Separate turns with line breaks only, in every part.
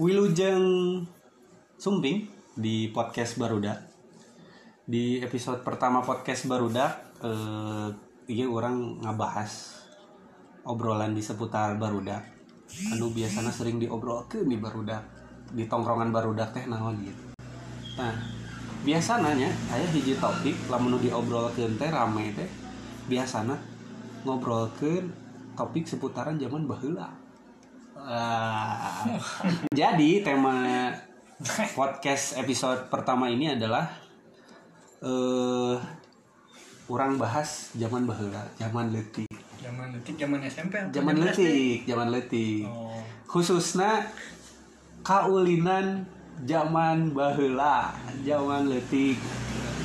Wilujeng Sumping di podcast Barudak. Di episode pertama podcast Barudak, eh, iya orang ngabahas obrolan di seputar Barudak. Anu biasanya sering diobrolkeun di Barudak, di tongkrongan Barudak teh naon gitu. Nah, biasanya saya hiji topik lamun nu diobrolkeun teh rame teh biasana ngobrolkeun topik seputaran zaman baheula. Ah. jadi tema podcast episode pertama ini adalah eh kurang bahas zaman baheula, zaman leutik.
Zaman detik, zaman SMP apa?
Zaman leutik, zaman leutik.
Oh.
Khususna kaulinan zaman baheula, zaman leutik.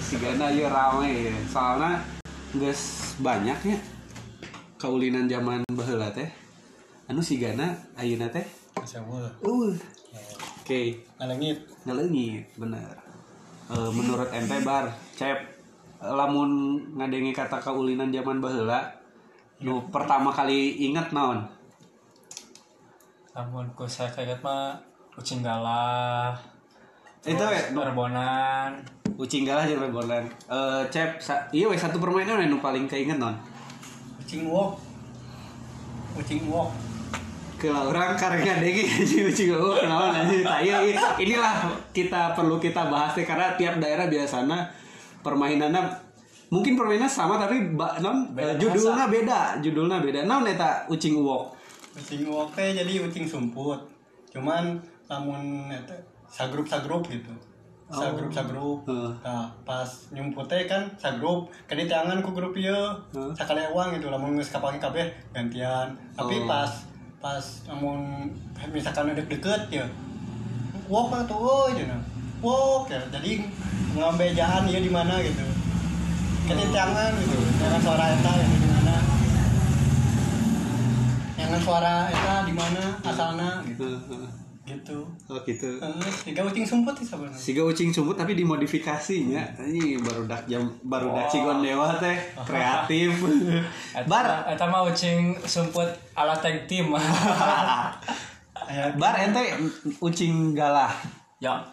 Sigana ieu rame soalnya geus banyak ya kaulinan zaman baheula teh. Anu sigana ayeuna teh
Insya Allah.
uh oke
Ngalengit.
ngelengit bener Eh, menurut ente bar cep lamun ngadengi kata kaulinan zaman baheula nu pertama kali inget naon
Namun ku saya kaget mah kucing galah.
itu we, nu-
Perbonan.
ucing galah jeung rebolan Eh, cep sa- ieu we satu permainan we nu paling keinget non
Kucing walk. Kucing walk.
kalau orang karek ngadengi anjing ucing oh kenaon anjing Tah, ieu- ieu- iya, inilah kita perlu kita bahas teh, karena tiap daerah biasana permainannya mungkin permainan sama tapi ba- non eh,
Beda
judulnya beda judulnya beda naon eta ucing uwok
Kucing walk teh jadi kucing sumput. Cuman lamun eta sagrup sagrup gitu. Sagrup sagrup.
Oh. Heeh.
Nah, pas nyumput teh kan sagrup. Kadi tangan ku grup ieu.
Heeh.
Sakalewang gitu lamun geus kapake kabeh gantian. Tapi
Oh.
pas pas lamun misalkan ada deket ya walk lah tuh woi cina walk ya jadi ngambejaan ya di mana gitu jadi
Oh.
tangan gitu jangan suara eta ya di mana jangan suara eta di mana asalna gitu gitu
oh gitu
Terus tiga kucing sumput sih sebenarnya
siga ucing sumput tapi dimodifikasinya ini baru dak jam baru dak cigon dewa teh kreatif bar
Eta mah kucing sumput ala tag team.
Aya-
bar ente ucing galah
ya.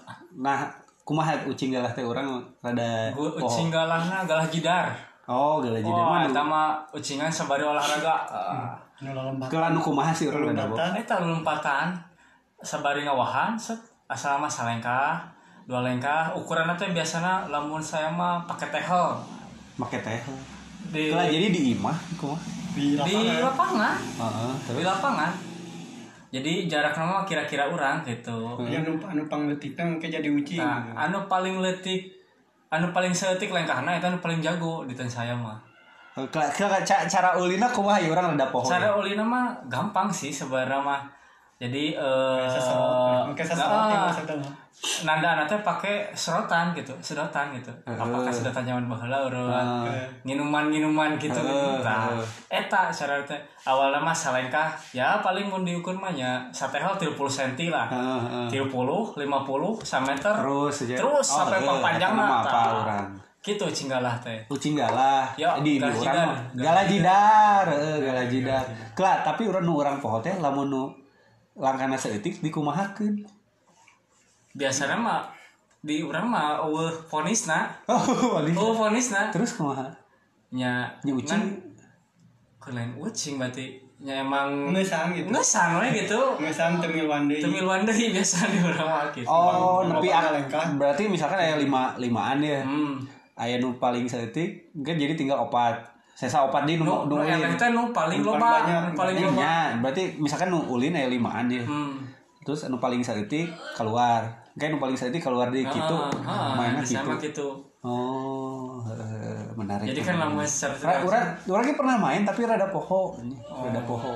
nah kumaha ucing galah teh orang rada
Gu- Kucing galahna galah jidar.
oh, oh galah jadi
Oh,
mana
eta mah kucingan sabari olahraga. Ah.
nu lomba
kelanu kumaha sih orang rada bo
lompatan
Eta lompatan sabari ngawahan set asal mah salengkah dua lengkah ukurannya teh biasanya lamun saya mah pakai tehel
make teh
di
kelah jadi di imah kumaha
di
di lapangan
lapangan
heeh
di
terus
lapangan jadi jarak nama kira-kira orang gitu
Aya nu anu pangleutitna engke jadi ucing
nah anu paling letik anu paling seletik lengkahna itu anu paling jago di tengah saya mah
Kelah- kelah ca- cara ulina kumaha ieu urang rada poho
cara ulina mah gampang sih sebenarnya mah jadi eh
Seserot, engke
nah,
seserot ya maksudnya mah.
nanda anak teh pakai serotan gitu sedotan gitu apakah sedotan zaman baheula urang
Heeh.
minuman-minuman gitu
Ah. Heeh,
Tah,
heeh.
eta cara teh awalnya mah salengkah ya paling mun diukur mah nya satehal 30 cm lah
Heeh, heeh.
30 50 1 meter
Terus aja.
terus
Oh,
sampai
heeh,
panjang
eta mah apa urang?
gitu cinggalah teh
kucing galah
Ya,
di
galah
urang
jidar.
mah. galah jidar heeh galah jidar Kelah, tapi urang nu urang poho teh lamun nu langkana saeutik dikumahakeun
biasanya mah di urang mah eueuh ponisna
oh wali.
eueuh ponisna
terus kumaha
nya
Nya ucing.
kulen ucing berarti nya emang
Ngeusang gitu.
ngeusang we gitu
Ngesan temil wandei.
temiluan deui biasa di urang mah gitu
oh
Bang,
nepi
bang,
ak-
lengkah.
berarti misalkan aya lima limaan ya
hmm.
aya nu paling saeutik kan jadi tinggal opat sesa opat di nu
nu
nu
nu
ulin
elek teh nu paling
Nu paling
loba
banyak,
nu paling
Nya,
loba
berarti misalkan nu ulin aya limaan ya
hmm.
terus anu paling saeutik keluar kan anu paling saeutik keluar di kitu mainnya kitu
gitu. Ah, sama gitu
Oh, eh, menarik.
jadi kan lamun
menarik.
secara
Ra-
tidak
Orang, orang ge pernah main tapi rada poho, ini,
Oh.
rada poho.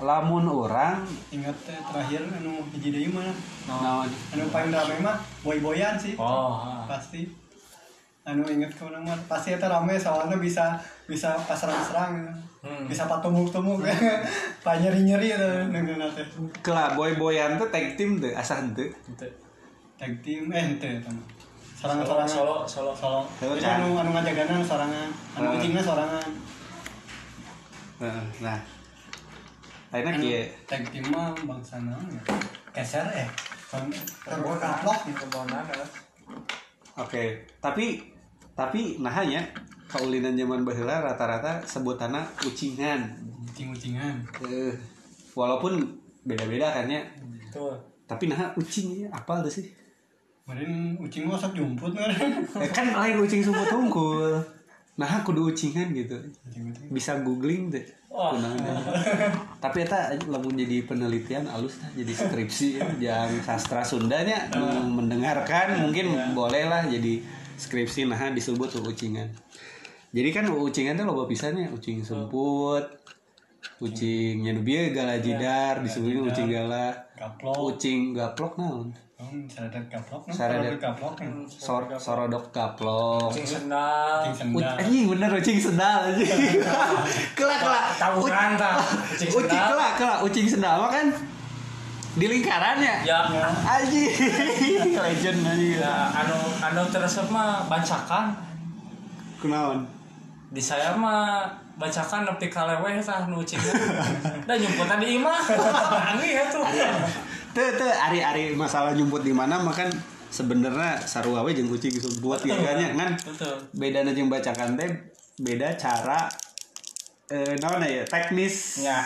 Lamun orang, nah,
Ingat teh terakhir anu hiji deui mah.
naon?
Anu paling rame mah boy-boyan sih.
oh ah.
Pasti. Anu inget ke mana mah. Pasti eta rame soalnya bisa bisa pas serang-serang. gitu.
Hmm.
Bisa patumbuk-tumbuk. Pa nyeri-nyeri eta nengna teh.
Kela boy boyan tuh tag team tuh, asah tuh.
Henteu.
Tag team eh teu eta mah.
solo
Sorangan-sorangan.
solo solo
Solo.
Solo,
Terus
kan?
anu anu ngajaganan sorangan. Anu kucingna sorangan.
Heeh, Nah, enak
Anu
ya.
Iya.
tag team mah bangsa naon ya? Kan
keser eh
terbonak
Kebonan, eh.
Oke, tapi tapi nah hanya kaulinan zaman baheula rata-rata sebutanna ucingan.
ucing-ucingan
Eh, walaupun beda-beda kan ya.
Tuh.
Tapi nah ucing apa tuh sih?
kemarin ucing gua sok jumput kan
Eh, kan lain ucing sumput tungkul. Nah, kudu ucingan gitu. Bisa googling deh.
Wah.
Tapi eta lamun jadi penelitian alus tah, jadi skripsi yang sastra Sundanya nu mendengarkan mungkin bolehlah jadi skripsi nah disebut ucingan. Jadi kan ucingan teh loba pisannya ucing sumput, ucing nya nu bieu galajidar, disebutnya ucing gala,
gaplok
ucing gaplok naon?
Hmm, saradet gaplok
Saradet.
saradet gaplok kan
Sor sorodok gaplok.
Oh, Kucing sendal.
ucing
U-
eh,
sendal
Anjing bener ucing sendal anjing. kelak kelak.
Tahu
U-
kan tah. Kucing
Ucing,
sendal.
kelak kelak ucing sendal mah kan di lingkarannya.
Ya.
Anjing legend anjing.
Ya, anu anu teresep mah bancakan.
Kunaon?
Di saya mah bacakan nepi ka leweh tah nu ucing. Da nyumputan di imah. Angin ya tuh.
Teu teu ari-ari masalah nyumput di mana mah kan sebenarnya sarua we jeung ucing sumput gitu kan ya kan.
Betul.
Bedana jeung bacakan teh beda cara eh naon ya teknis
Ya.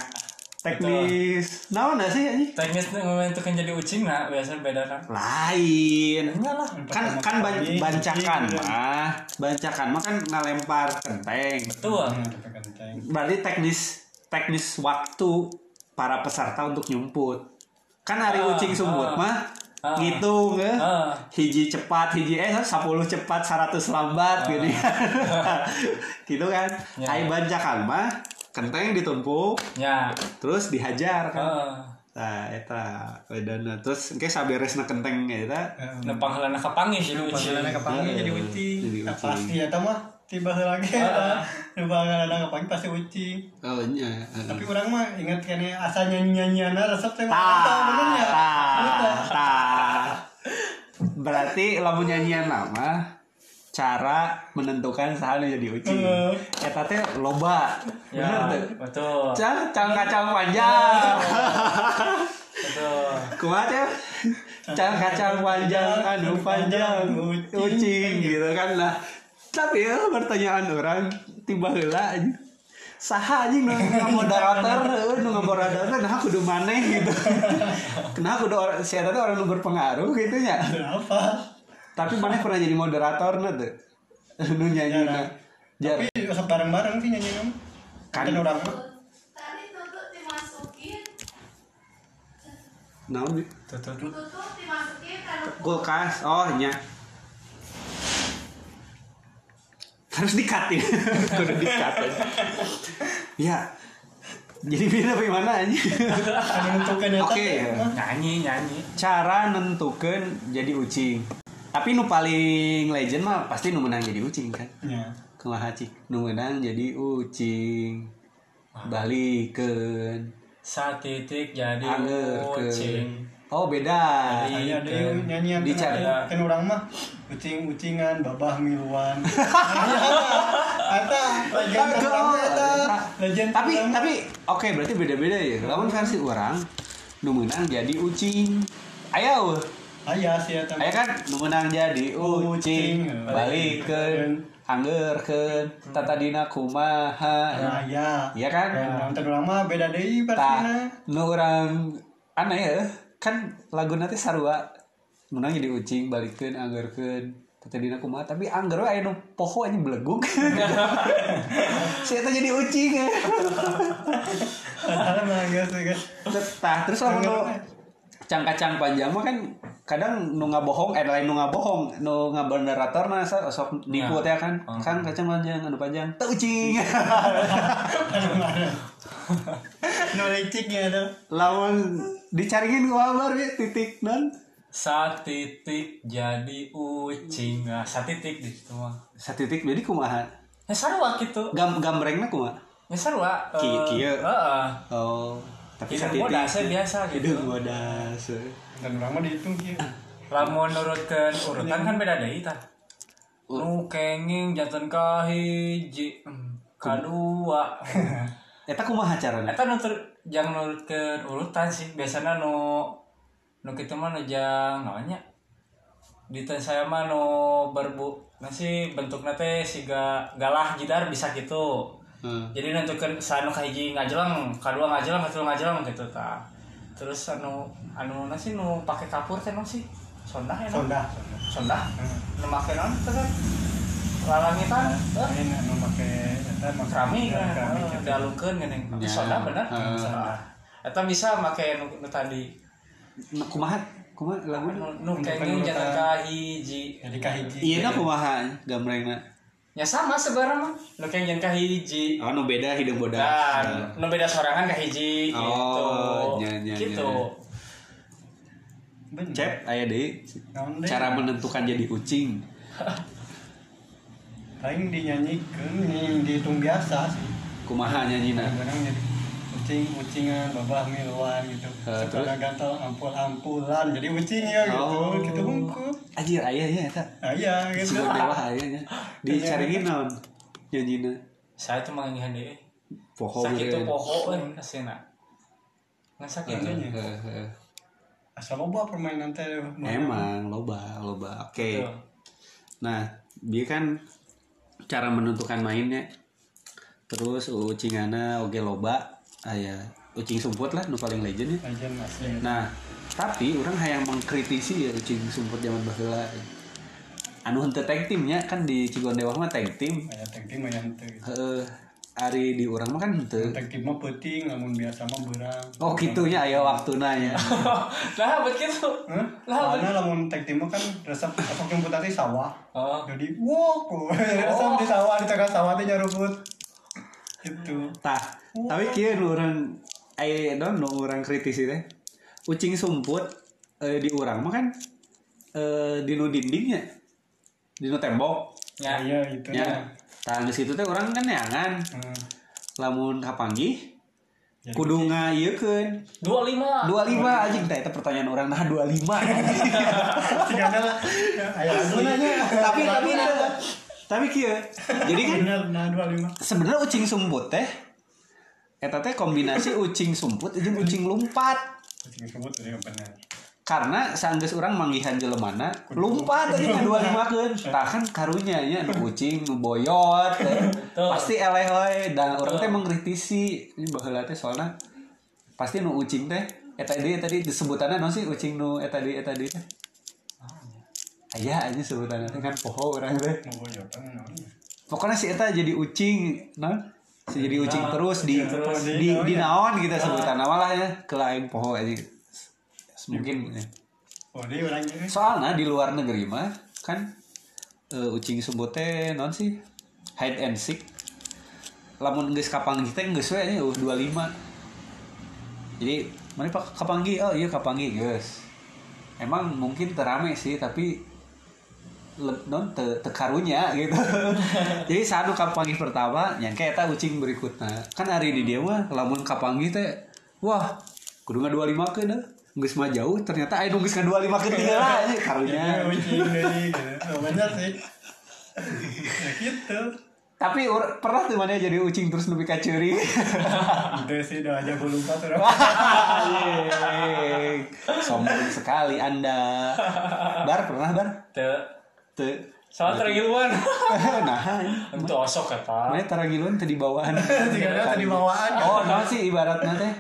teknis naon ya sih anjing?
Teknis membentukkan jadi ucing nah biasanya beda kan.
Lain.
Enggak lah.
kan kan ban- bancakan mah bancakan mah kan ngalempar kenteng
Betul.
Hmm, tapi kenteng.
berarti teknis teknis waktu para peserta untuk nyumput kan hari
Ah,
ucing sumput
ah,
mah
ah.
ngitung eh.
Ah.
hiji cepat hiji eh 10 cepat 100 lambat gitu kan gitu kan
Ah. Ya.
Hai bancakan mah kenteng ditumpuk
Ya.
terus dihajar kan
Heeh.
nah eta bedana terus engke saberesna kenteng eta
Nepang helana kapangi sih lu Nah, ucing. Iya,
Panggilannya kepanggil jadi
Eh,
ucing.
jadi
Nah,
ucing.
pasti ya mah tiba lagi
Ah.
ya tiba anak pagi pasti ucing
Oh, iya.
tapi orang mah ingat kan asa nyanyi nyanyian resep teh
Ta,
Ah,
mah bener ya
ta, ta. Berarti lamun nyanyian lama cara menentukan sahana jadi ucing.
Heeh.
Eta teh loba. Bener
Ya,
teh.
betul.
Cal, cal kacang panjang.
Betul.
Kuat ya. Cal kacang panjang, anu panjang, ucing gitu kan lah. Tapi ya, pertanyaan orang tiba heula anjing. Saha anjing nu nu moderator, heuh, nu moderator nah kudu maneh gitu. Kenapa kudu orang si eta teh orang nu berpengaruh gitu nya.
berapa
Tapi maneh pernah jadi moderator nah, na teu? Nu nyanyi na. Jar.
tapi resep bareng bareng sih nyanyi kamu
Kan.
kan orang mah
Tadi tutup dimasukin,
Naon Bi?
Tuh, tuh, tuh.
tutup dimasukin kalau
kulkas. Oh, nya. Harus dikat ya. Kudu dikat. Ya. ya. Jadi beda bagaimana anjing?
ada menentukan eta
Oke,
teh,
ya.
mah.
Nyanyi, nyanyi.
cara nentukan jadi ucing tapi nu paling legend mah pasti nu menang jadi ucing kan
ya
kumaha cik nu menang jadi ucing balikeun
Satitik jadi
angeurkeun
ucing.
oh beda
Jadi-
Iya, ada yang nyanyian
Di
kan,
cari.
kan orang mah ucing-ucingan, babah miluan. Eta, legend
Tapi-
orang mah eta. Legend
tapi
orang mah.
tapi oke berarti beda-beda ya lamun versi orang nu menang jadi ucing ayo
Aya sih eta.
Aya kan nu menang jadi ucing balikeun angeurkeun tatadina kumaha
Aya.
Iya kan?
Orang teh orang mah beda deui
Ta,
versina.
nu orang aneh ya, kan lagu nanti sarua menang jadi ucing balikin anggerkeun tadi dina kumaha tapi angger we aya nu poho aja beleguk saya jadi ucing ya
Eta mah geus geus.
Tah, terus lamun nu cangkacang panjang mah kan kadang nu ngabohong eh lain nu ngabohong nu ngabenerator nah so- sok nipu teh kan kan kacang panjang anu panjang teu ucing
Nu licik ya eta.
lamun dicaringin kabar ya titik non
Satitik jadi ucing. Nah, satitik gitu mah.
satitik jadi kumaha
Ya sarua gitu.
Gam gambrengnya kumaha?
Ya sarua. eh,
Ki- kieu.
Heeh.
Oh, tapi
Hidung
satitik.
bodas ya biasa gitu.
Hidung bodas.
Dan orang mah dihitung kieu.
Lamun nurutkeun urutan kan beda deui tah. Nu kenging jatuh ka hiji, hmm, ka dua.
Eta kumaha carana?
Eta nu ter- jangan nurutkeun urutan sih. Biasana nu nu kita mah nu jang naonnya di teh saya mah nu berbu nasi bentuknya teh siga galah jidar bisa gitu
Hmm.
jadi nentukeun sa anu kahiji ngajelang kadua ngajelang katilu ngajelang gitu ta terus anu anu nasi nu pakai kapur teh naon sih sondah ya naon?
sonda
sondah
Hmm.
nu make naon teh kan lalangitan eh?
lain anu make eta make
keramik
ya,
nah,
keramik
eh,
gitu.
dialungkeun gini
Ya.
sonda bener
Heeh.
Sondah. eta bisa make nu, nu tadi
Nah, kumaha kumaha lagu
nu nu
Bentukan
kenging
luka.
jangan kahiji
jadi kahiji
iya nah kumaha gambrengna
nya Ya sama sebarang mah nu kenging jangan kahiji
oh nu beda hidung bodas Nah.
dan nu beda sorangan kahiji gitu
Oh, nya, nya,
gitu
Bener.
cep aya deui
Naon deui?
cara menentukan jadi kucing
paling dinyanyikan dihitung biasa sih
Nah. kumaha nyanyina
kadang jadi ucing ucingan babah miluan gitu
Eh, terus? Oh.
suka gantel ampul ampulan jadi ucing ya gitu gitu hungkup
anjir aya ya eta
nah, iya gitu
sebut dewa aya nya dicariin naon nyanyina
saya tuh eh. mangihan deh
poho
sakit tuh
meureun.
poho oh, euy asina nggak sakit
Heeh,
Iya,
kan
heeh, heeh.
asal loba permainan teh
Emang loba, loba. Oke.
Betul.
Nah, dia kan cara menentukan mainnya. Terus ucingana oge loba aya ucing sumput lah nu paling legend ya.
legend asli
Nah, tapi orang hayang mengkritisi ya ucing sumput zaman baheula. Anu henteu tag timnya kan di Cigondewa mah tag tim.
aya tag team aya henteu gitu.
Heeh. Ari di urang mah kan henteu.
tag team mah peuting lamun biasa mah beurang
Oh, kitunya aya waktuna ya.
lah Nah, begitu
Hah?
Lah,
Soalnya lamun tag team mah kan resep asok yang putih sawah.
oh
Jadi wow, resep di sawah di tengah sawah teh nyaruput. Gitu.
Tah, tapi kia nu orang I don't know orang kritis itu. Ucing sumput eh, di orang mah kan eh, di nu dindingnya, di nu tembok.
Ya,
ya
iya itu.
Ya. Tah di situ teh orang kan neangan,
Hmm. Ya,
lamun kapanggih
Jadi
kudunga iya kan
dua lima
dua lima anjing tah itu pertanyaan orang nah dua lima
Tiga lah. Ayo nanya.
tapi tapi iya. tapi kia jadi kan
Benar, nah 25.
sebenarnya ucing sumput teh eta teh kombinasi ucing sumput jeung ucing lumpat
Kucing sebut tadi yang benar.
karena sanggeus urang manggihan jelemana lumpat tadi dua lima keun tah kan karunya nya nu kucing nu boyot eh. pasti eleh we dan urang teh mengkritisi ini baheula teh soalna pasti nu ucing teh eta dia tadi disebutanna naon sih ucing nu eta dia eta dia teh Ah, iya. aya aja sebutanna teh kan poho urang teh
Mau boyot kan namanya.
pokoknya si eta jadi ucing non si jadi ucing terus di
terus.
di
Di-
di naon kita sebutan nama lah ya ke lain poho aja mungkin ya.
Oh, dia orang ini.
soalnya di luar negeri mah kan eh, ucing sumput teh non sih hide and seek lamun geus kapanggih teh geus we uh, 25 jadi mana pak kapanggih oh iya kapanggih geus emang mungkin terame sih tapi le- non te, te karunya gitu jadi sanu kapanggih pertama yang kayak eta ucing berikutnya kan hari di dia mah lamun kapanggih teh wah kudu dua lima ke dah geus mah jauh ternyata ayo geus dua lima ke tiga lah anjing, karunya
Iya, kucing dari gitu. Oh, benar sih. Ya gitu.
tapi ur- pernah tuh mana jadi ucing terus lebih kacuri
Udah sih, udah aja gue lupa tuh.
sombong sekali anda bar pernah bar
Teu.
Teu.
salah tergiluan
nah
itu osok kata
mana tarangilun tadi bawaan
Tiga ada tadi bawaan.
oh naon sih ibaratnya teh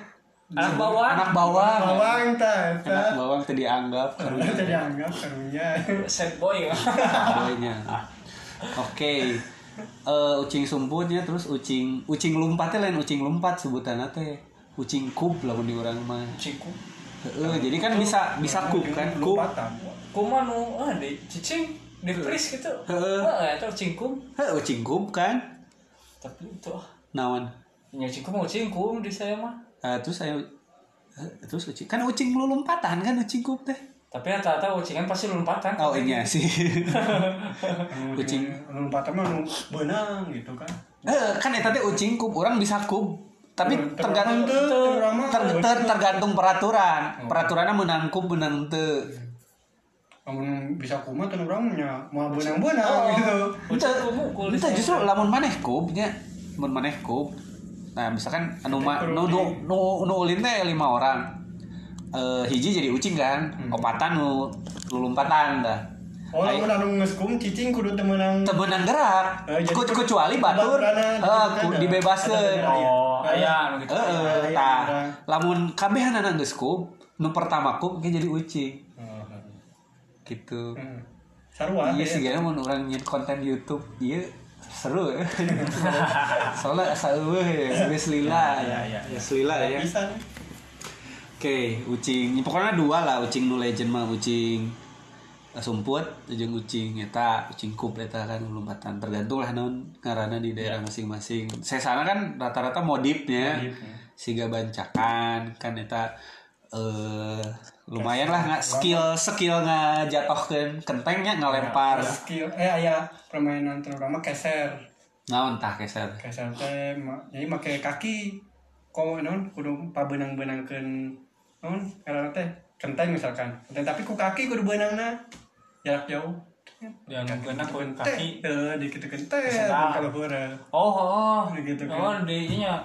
anak bawaan
anak bawang
Bawang ta,
anak
eta.
bawang tadi anggap
Karena jadi anggap karunya.
set boy
Boynya. Nah, Oke. Eh, ucing sumputnya terus ucing ucing lumpatnya lain ucing lumpat sebutannya teh. Ucing kub lah di orang mah.
ciku
Heeh, jadi kan bisa bisa kub kan kub.
Lupatan.
kuma nu ah di cicing di pris gitu
Heeh.
Heeh, itu cingkum
Heh, ucing kub kan.
tapi itu ah
Naon?
nya cingkum mau cingkum di saya mah
Ah, terus saya eh, terus ucing kan ucing lu lompatan kan ucing kub teh.
tapi rata-rata ucingan pasti lompatan
Oh iya sih. Kucing.
Lompatan mah nu benang gitu kan.
Heeh, kan eta teh ucing kub, orang bisa kub. Tapi
Hmm,
tergantung
Teu, teu urang mah.
ter- ter- tergantung
Oh.
peraturan. Peraturannya menang kub menang teu.
Lamun bisa kumat kan orangnya mau benang-benang gitu.
Itu
Ucing ku mukul
Oh,
di
itu
saya.
justru lamun maneh kub nya, mun maneh kub. Nah, misalkan anu ma, nu nu nu nu ulin teh lima orang. eh, hiji jadi ucing kan opatan nu lulumpatan dah
Hmm. Oh,
Ai-
lamun anu ngeskum cicing kudu teu meunang.
tebenang gerak
Eh, jadi
Ku-
ku-
kecuali batur
baturana
eh, ku-
dibebaskan.
dibebaskan
kan Ada bener,
Oh, ayah gitu.
eh
Iya,
tah
iya.
lamun kabeh anak geus kum nu pertama kum ge jadi ucing
Oh.
gitu
Hmm. Sarua.
iya
ya.
sih gana mun urang nyeut konten YouTube iya seru ya. soalnya asa eueuh ya geus
Iya,
lila
Ya, ya, ya.
Geus lila ya
Bisa.
Oke, ucing. Ya, pokoknya dua lah, ucing nu legend mah ucing eh, sumput, jeung ucing eta, ucing kup eta kan lompatan tergantung lah non karena di daerah masing-masing. Saya sana kan rata-rata modifnya, siga bancakan kan eta eh lumayan lah nggak skill skill ngajatohkeun kentengnya ngalempar.
Skill eh aya permainan terutama keser.
Nah, entah keser.
Keser teh ma- jadi make kaki. Kau non kudu pabenang-benangkeun non karena teh kenteng misalkan. Kenteng tapi ku kaki kudu beunangna jarak jauh.
Yang kena poin
Teh,
kaki.
eh di kitu kenteng
Kesedang.
kalau heureuh.
Eh.
Oh, oh,
Gitu kan.
oh, di nya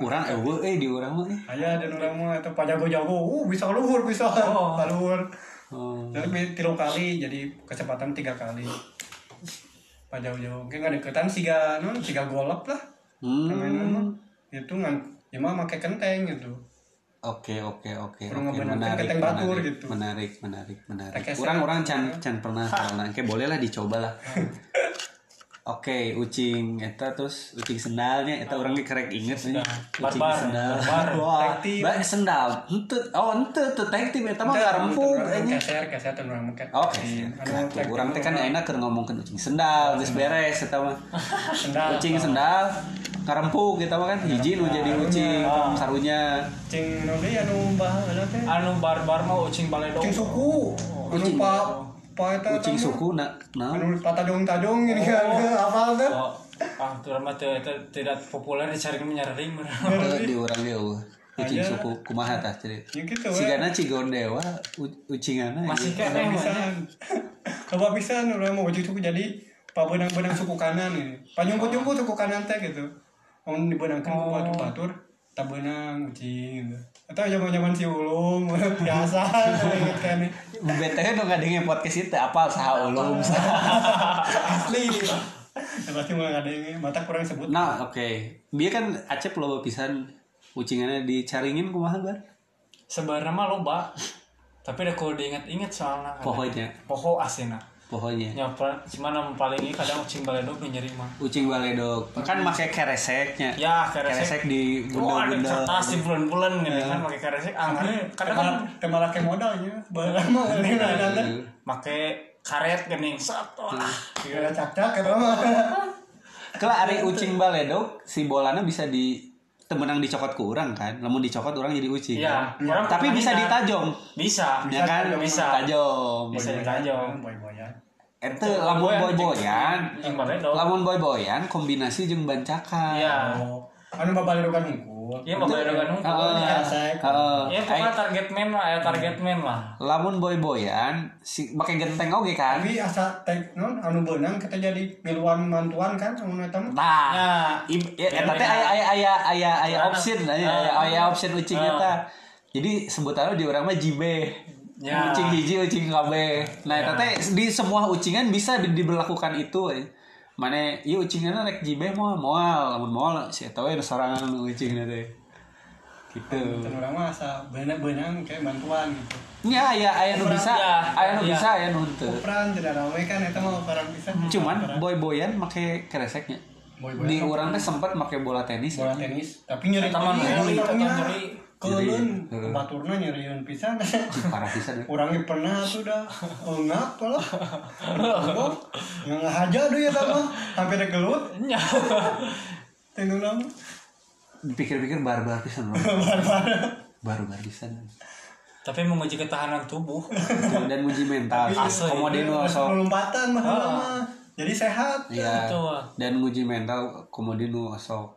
Urang eueuh eh di urang mah eh.
Aya dan orang mah atau pak jago-jago, uh bisa luhur bisa,
Oh.
luhur.
Oh.
Tapi tilu kali jadi kecepatan tiga kali. Pak jago-jago, mungkin nggak deketan siga non siga golop lah. Permainan mah
Hmm.
itu ngan, ya mah pakai kenteng gitu.
Oke oke oke
Perlu
oke
ngebenarkan
menarik
keteng batur
menarik,
gitu.
menarik menarik menarik
Pakai
orang orang
selang.
can can pernah karena kayak boleh lah dicoba lah oke ucing eta terus ucing sendalnya eta orang kerek inget nih ucing
Barbar,
sendal
barbar.
wah
Tag team.
ba- sendal henteu oh henteu tuh tag team eta mah
Teu,
karempung
teu orang
anjing.
Keser, keser kan. tuh orang mungkin.
oke
Anu, tag
orang teh kan
team,
enak keur ngomongkeun ucing sendal geus beres eta mah
sendal.
ucing sendal karempung eta mah kan hiji nu jadi ucing
ya.
sarunya
Cing nanti anu bah, anu teh.
anu barbar mah ucing balai
Cing suku, anu
Ucing.
pak, pak eta
ucing
tah,
suku nak nah
Anu patadong-tadong gini kan, apa tuh?
Oh, ah, itu mah teu- teu- tidak populer dicari menyaring.
Eh,
Iya.
di orang dia eueuh. ucing
Aya.
suku kumaha tah cerita
Ya gitu we.
sigana cigondewa u- ucingana ya. ieu.
Masih kene mah. nya.
pisan. Loba pisan urang anu, mau cucu jadi pabenang-benang suku kanan ini. Panyumput-nyumput suku kanan teh gitu. Mun dibeunangkeun ku batur-batur tabenang ucing gitu. Atau zaman-zaman si ulung biasa inget kan.
BTW nu ngadenge podcast itu apal saha ulum saha.
Asli. Ya, Pasti mah ada yang mata kurang sebut.
Nah, oke. Dia kan Acep loba pisan ucingana dicaringin kumaha bar?
Sebenarnya mah loba. Tapi udah kalau diinget-inget soalnya. kadang.
Pohonnya.
Poho asina.
Pohonnya.
Nyapa, cuman yang paling ini kadang ucing balai dog nyeri mah.
Ucing baledog kan make kereseknya.
Ya,
Keresek
keresek.
di
Oh, ada
bunda-bunda. Iya.
kertas di bulan-bulan gitu kan pakai
eh,
keresek angin. Kadang kan
Malah malah ke modalnya. Barang mah
Iya,
ini lah ada.
pakai karet gening satu lah.
iya.
Kira Iya, cak-cak eta mah.
Kalau ari ucing baledog si bolana bisa di temenang dicokot ke orang kan, lamun dicokot orang jadi ucing.
Iya,
kan?
orang
Tapi bisa
permainan.
ditajong.
Bisa.
ya kan
Bisa.
tajam
Bisa ditanjong.
Boy-boyan.
itu lamun boy boyan
Ucing balai dog.
lamun boy boyan kombinasi jeung bancakan
Iya.
Oh, anu babalukan unggul.
Iya, mah balai dogan hukum.
Heeh.
Keresek.
Heeh. Eh,
Ya, pokoknya target man lah, ya
Hmm.
target man lah.
lamun boy boyan si pakai genteng oge kan
Iya.
tapi asa tek non anu benang kita jadi miluan mantuan kan anu eta
nah
mah
Nah,
Ah, im- ya, eta teh aya aya aya aya aya option aya
Ah.
aya aya option ucing eta jadi sebutannya di orang mah jibe
Ya.
ucing hiji ucing kabeh nah eta teh di semua ucingan bisa di- diberlakukan itu eh. mana ieu ucinganna rek jibe moal moal lamun moal si eta we nu sorangan nu ucingna teh gitu
dan Kan orang mah asa benang-benang kayak bantuan gitu
Ya, ya, aya nu bisa,
Ya,
aya nu
ya.
bisa, aya nu henteu.
peran tidak ramai kan eta mah orang bisa
Cuman boy-boyan make kereseknya.
Boy-boyan
Di urang teh sempat make bola tenis. ya.
bola tenis tapi nyeri
Eta mah nyeri, eta mah nyeri.
Iya,
keulun baturna nyeriun pisan
Parah pisan. ya.
orangnya pernah tuh dah enggak tuh lah yang ngahaja tuh ya sama hampir ada gelut
nya.
tenung lama
Dipikir-pikir barbar pisan loh. Barbar pisan.
Tapi menguji ketahanan tubuh.
Tuh, Dan uji mental.
Asli.
Komodino sok.
Iya, lompatan mah lama jadi sehat
Iya.
Betul.
Dan uji mental komodino sok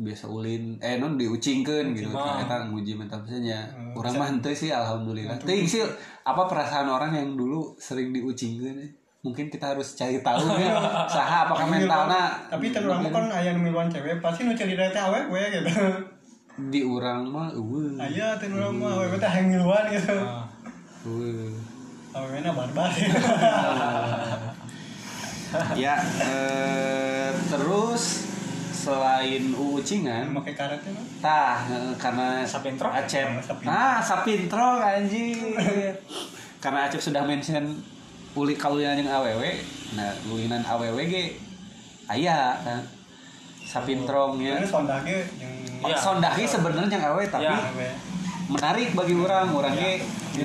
biasa ulin eh non diucingkeun gitu
mah.
eta nguji mental pisannya urang mah henteu sih alhamdulillah teuing sih apa perasaan orang yang dulu sering diucingkeun eh. mungkin kita harus cari tahu ya saha apakah mentalna
tapi terus kan ayah nu miluan cewek pasti nu cerita teh awewe gitu
di orang mah eueuh.
Ayo tuh dulu mah, awewe teh hayang ngiluan gitu.
Ah. Eueuh.
Awewe na barbar.
ya eh, terus selain uucingan
Pakai karetnya mah.
Tah, eh, karena
Sapintrok.
Acep.
Sapintrok.
Ah, Sapintrok anjir. karena Acep sudah mention uli kalulinan yang AWW. Nah, lulinan AWW ge aya nah, Sapintrong ya.
Ini sonda ge yang ya?
Iya.
Sondah ge sebenarnya yang AWW tapi
Iya.
awewe.
menarik bagi orang, orang ge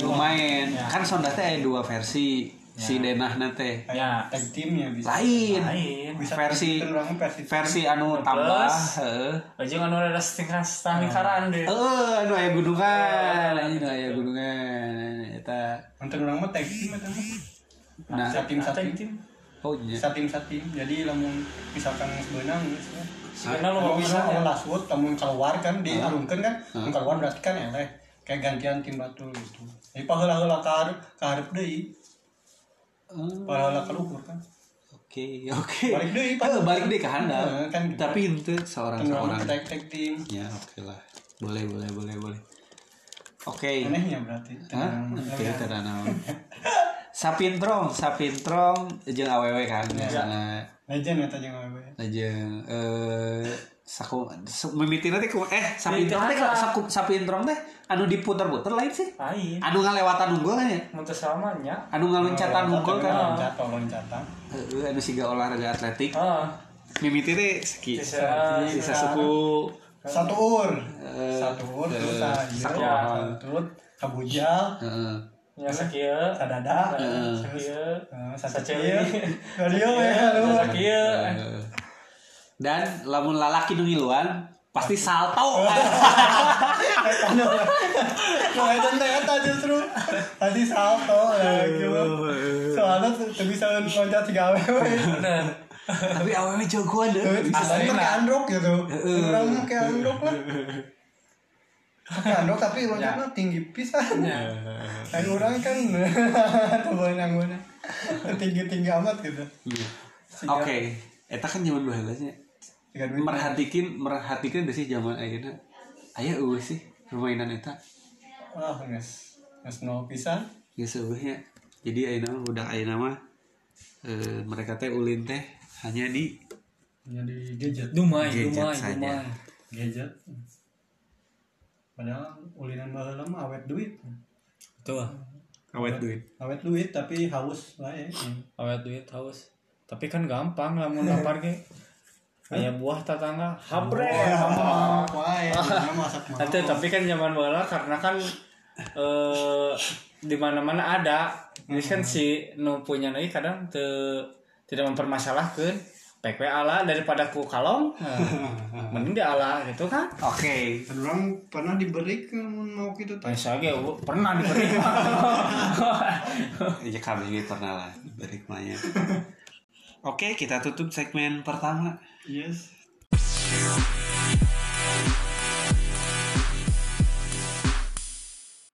lumayan.
Ya.
Kan sondah teh aya dua versi si Denah teh.
Kayak
Ya.
Tag teamnya bisa.
Lain.
lain
Bisa
Versi-
teu urang mah versi
Versi anu tambah, heeh.
aja anu ada setingkat setah lingkaran deh
Heeh, anu aya gunungan,
Ya,
anjir aya Oh, anu gunungan eta.
Untuk orang mah tag team atau mah.
Nah,
Satim satim.
tim
oh iya.
Satim satim. Jadi lamun misalkan sebenang gitu.
Nah,
sebenarnya
Kalau
lu bisa
bisa lamun lasut lamun keluar kan diarungkeun kan,
Heeh.
mun keluar berarti kan eleh kayak gantian tim batu gitu. Jadi paheula-heula ka hareup ka hareup deui,
Oh,
paheula ka luhur kan.
Oke, oke.
Balik deui, Pak.
Eh, balik deh ke handap.
Heeh, kan gitu. Kan
Tapi itu seorang
Teu
Nah,
urang
seorang.
mah tag tag team.
Ya, oke lah. Boleh, boleh, boleh, boleh. Oke.
Anehnya berarti. Teu
Hah?
urang mah.
Oke, tidak naon. Sapintrong, sapintrong jeung awewe kan.
Ya.
Misalnya
Legend eta jeung ya? awewe.
jeung eh saku su- mimitina teh ku eh sapintrong teh
Mimitina.
saku sapintrong teh anu diputer-puter lain sih.
lain
Anu ngalewatan unggul kan ya.
muntah sama nya
Anu ngaloncatan unggul kan.
Loncat, loncatan.
Heeh, anu siga olahraga atletik.
ah
Mimiti teh seki.
Sisa-
Sisa
sisa.
suku
Kan Satu ur.
Eh,
Satu ur
eh,
terus ah, ieu,
sakola.
santut, kabujal,
heeh.
nya sakieu
sadada.
Eh, sakieu
eh,
sakieu
Saceuli. Galieu we haduh.
sakieu
Heeh. Eh, Dan lamun lalaki nu ngiluan pasti salto.
Nah, itu teh eta justru pasti salto ya, gitu. Soalnya tuh tuh bisa loncat tiga awewe.
Eh,
bener
Tapi awalnya jagoan deh.
Tuh, bisa
Asalnya
salto kayak
nah.
androk gitu.
Eh,
Orang mah kayak androk lah. Kayak androk tapi
Ya.
loncatnya tinggi pisan. Lain orang kan tuh boleh nanggungnya. Tinggi-tinggi amat gitu.
Iya. Oke, eta kan zaman dua helasnya.
Tiga duit.
Merhatikan, merhatikan deh sih zaman ayeuna. Aya eueuh sih permainan eta.
Wah, guys. Mas nol pisan.
Geus eueuh nya. Jadi ayeuna mah budak ayeuna mah eh, mereka teh ulin teh hanya di
Jadi gadget.
dumai
Gadget
dumai
saja.
dumai
Gadget. Padahal ulinan baheula mah awet duit.
tuh ah.
awet duit.
Awet duit tapi haus lah ya.
awet duit haus tapi kan gampang lah mau lapar ge aya buah tatangga habre
Wah, wah, ya. Mana masak mah.
Atuh, tapi kan zaman bola karena kan eh di mana-mana ada. Jadi kan si nu punya lagi kadang te, tidak mempermasalahkan PKW ala daripada ku kalong. eh, mending dia ala gitu kan.
Oke.
Dan orang pernah diberi ke mun mau gitu teh.
Tanya ge u- pernah diberi.
Ya kami ini pernah lah balik maya. Oke, kita tutup segmen pertama.
Yes.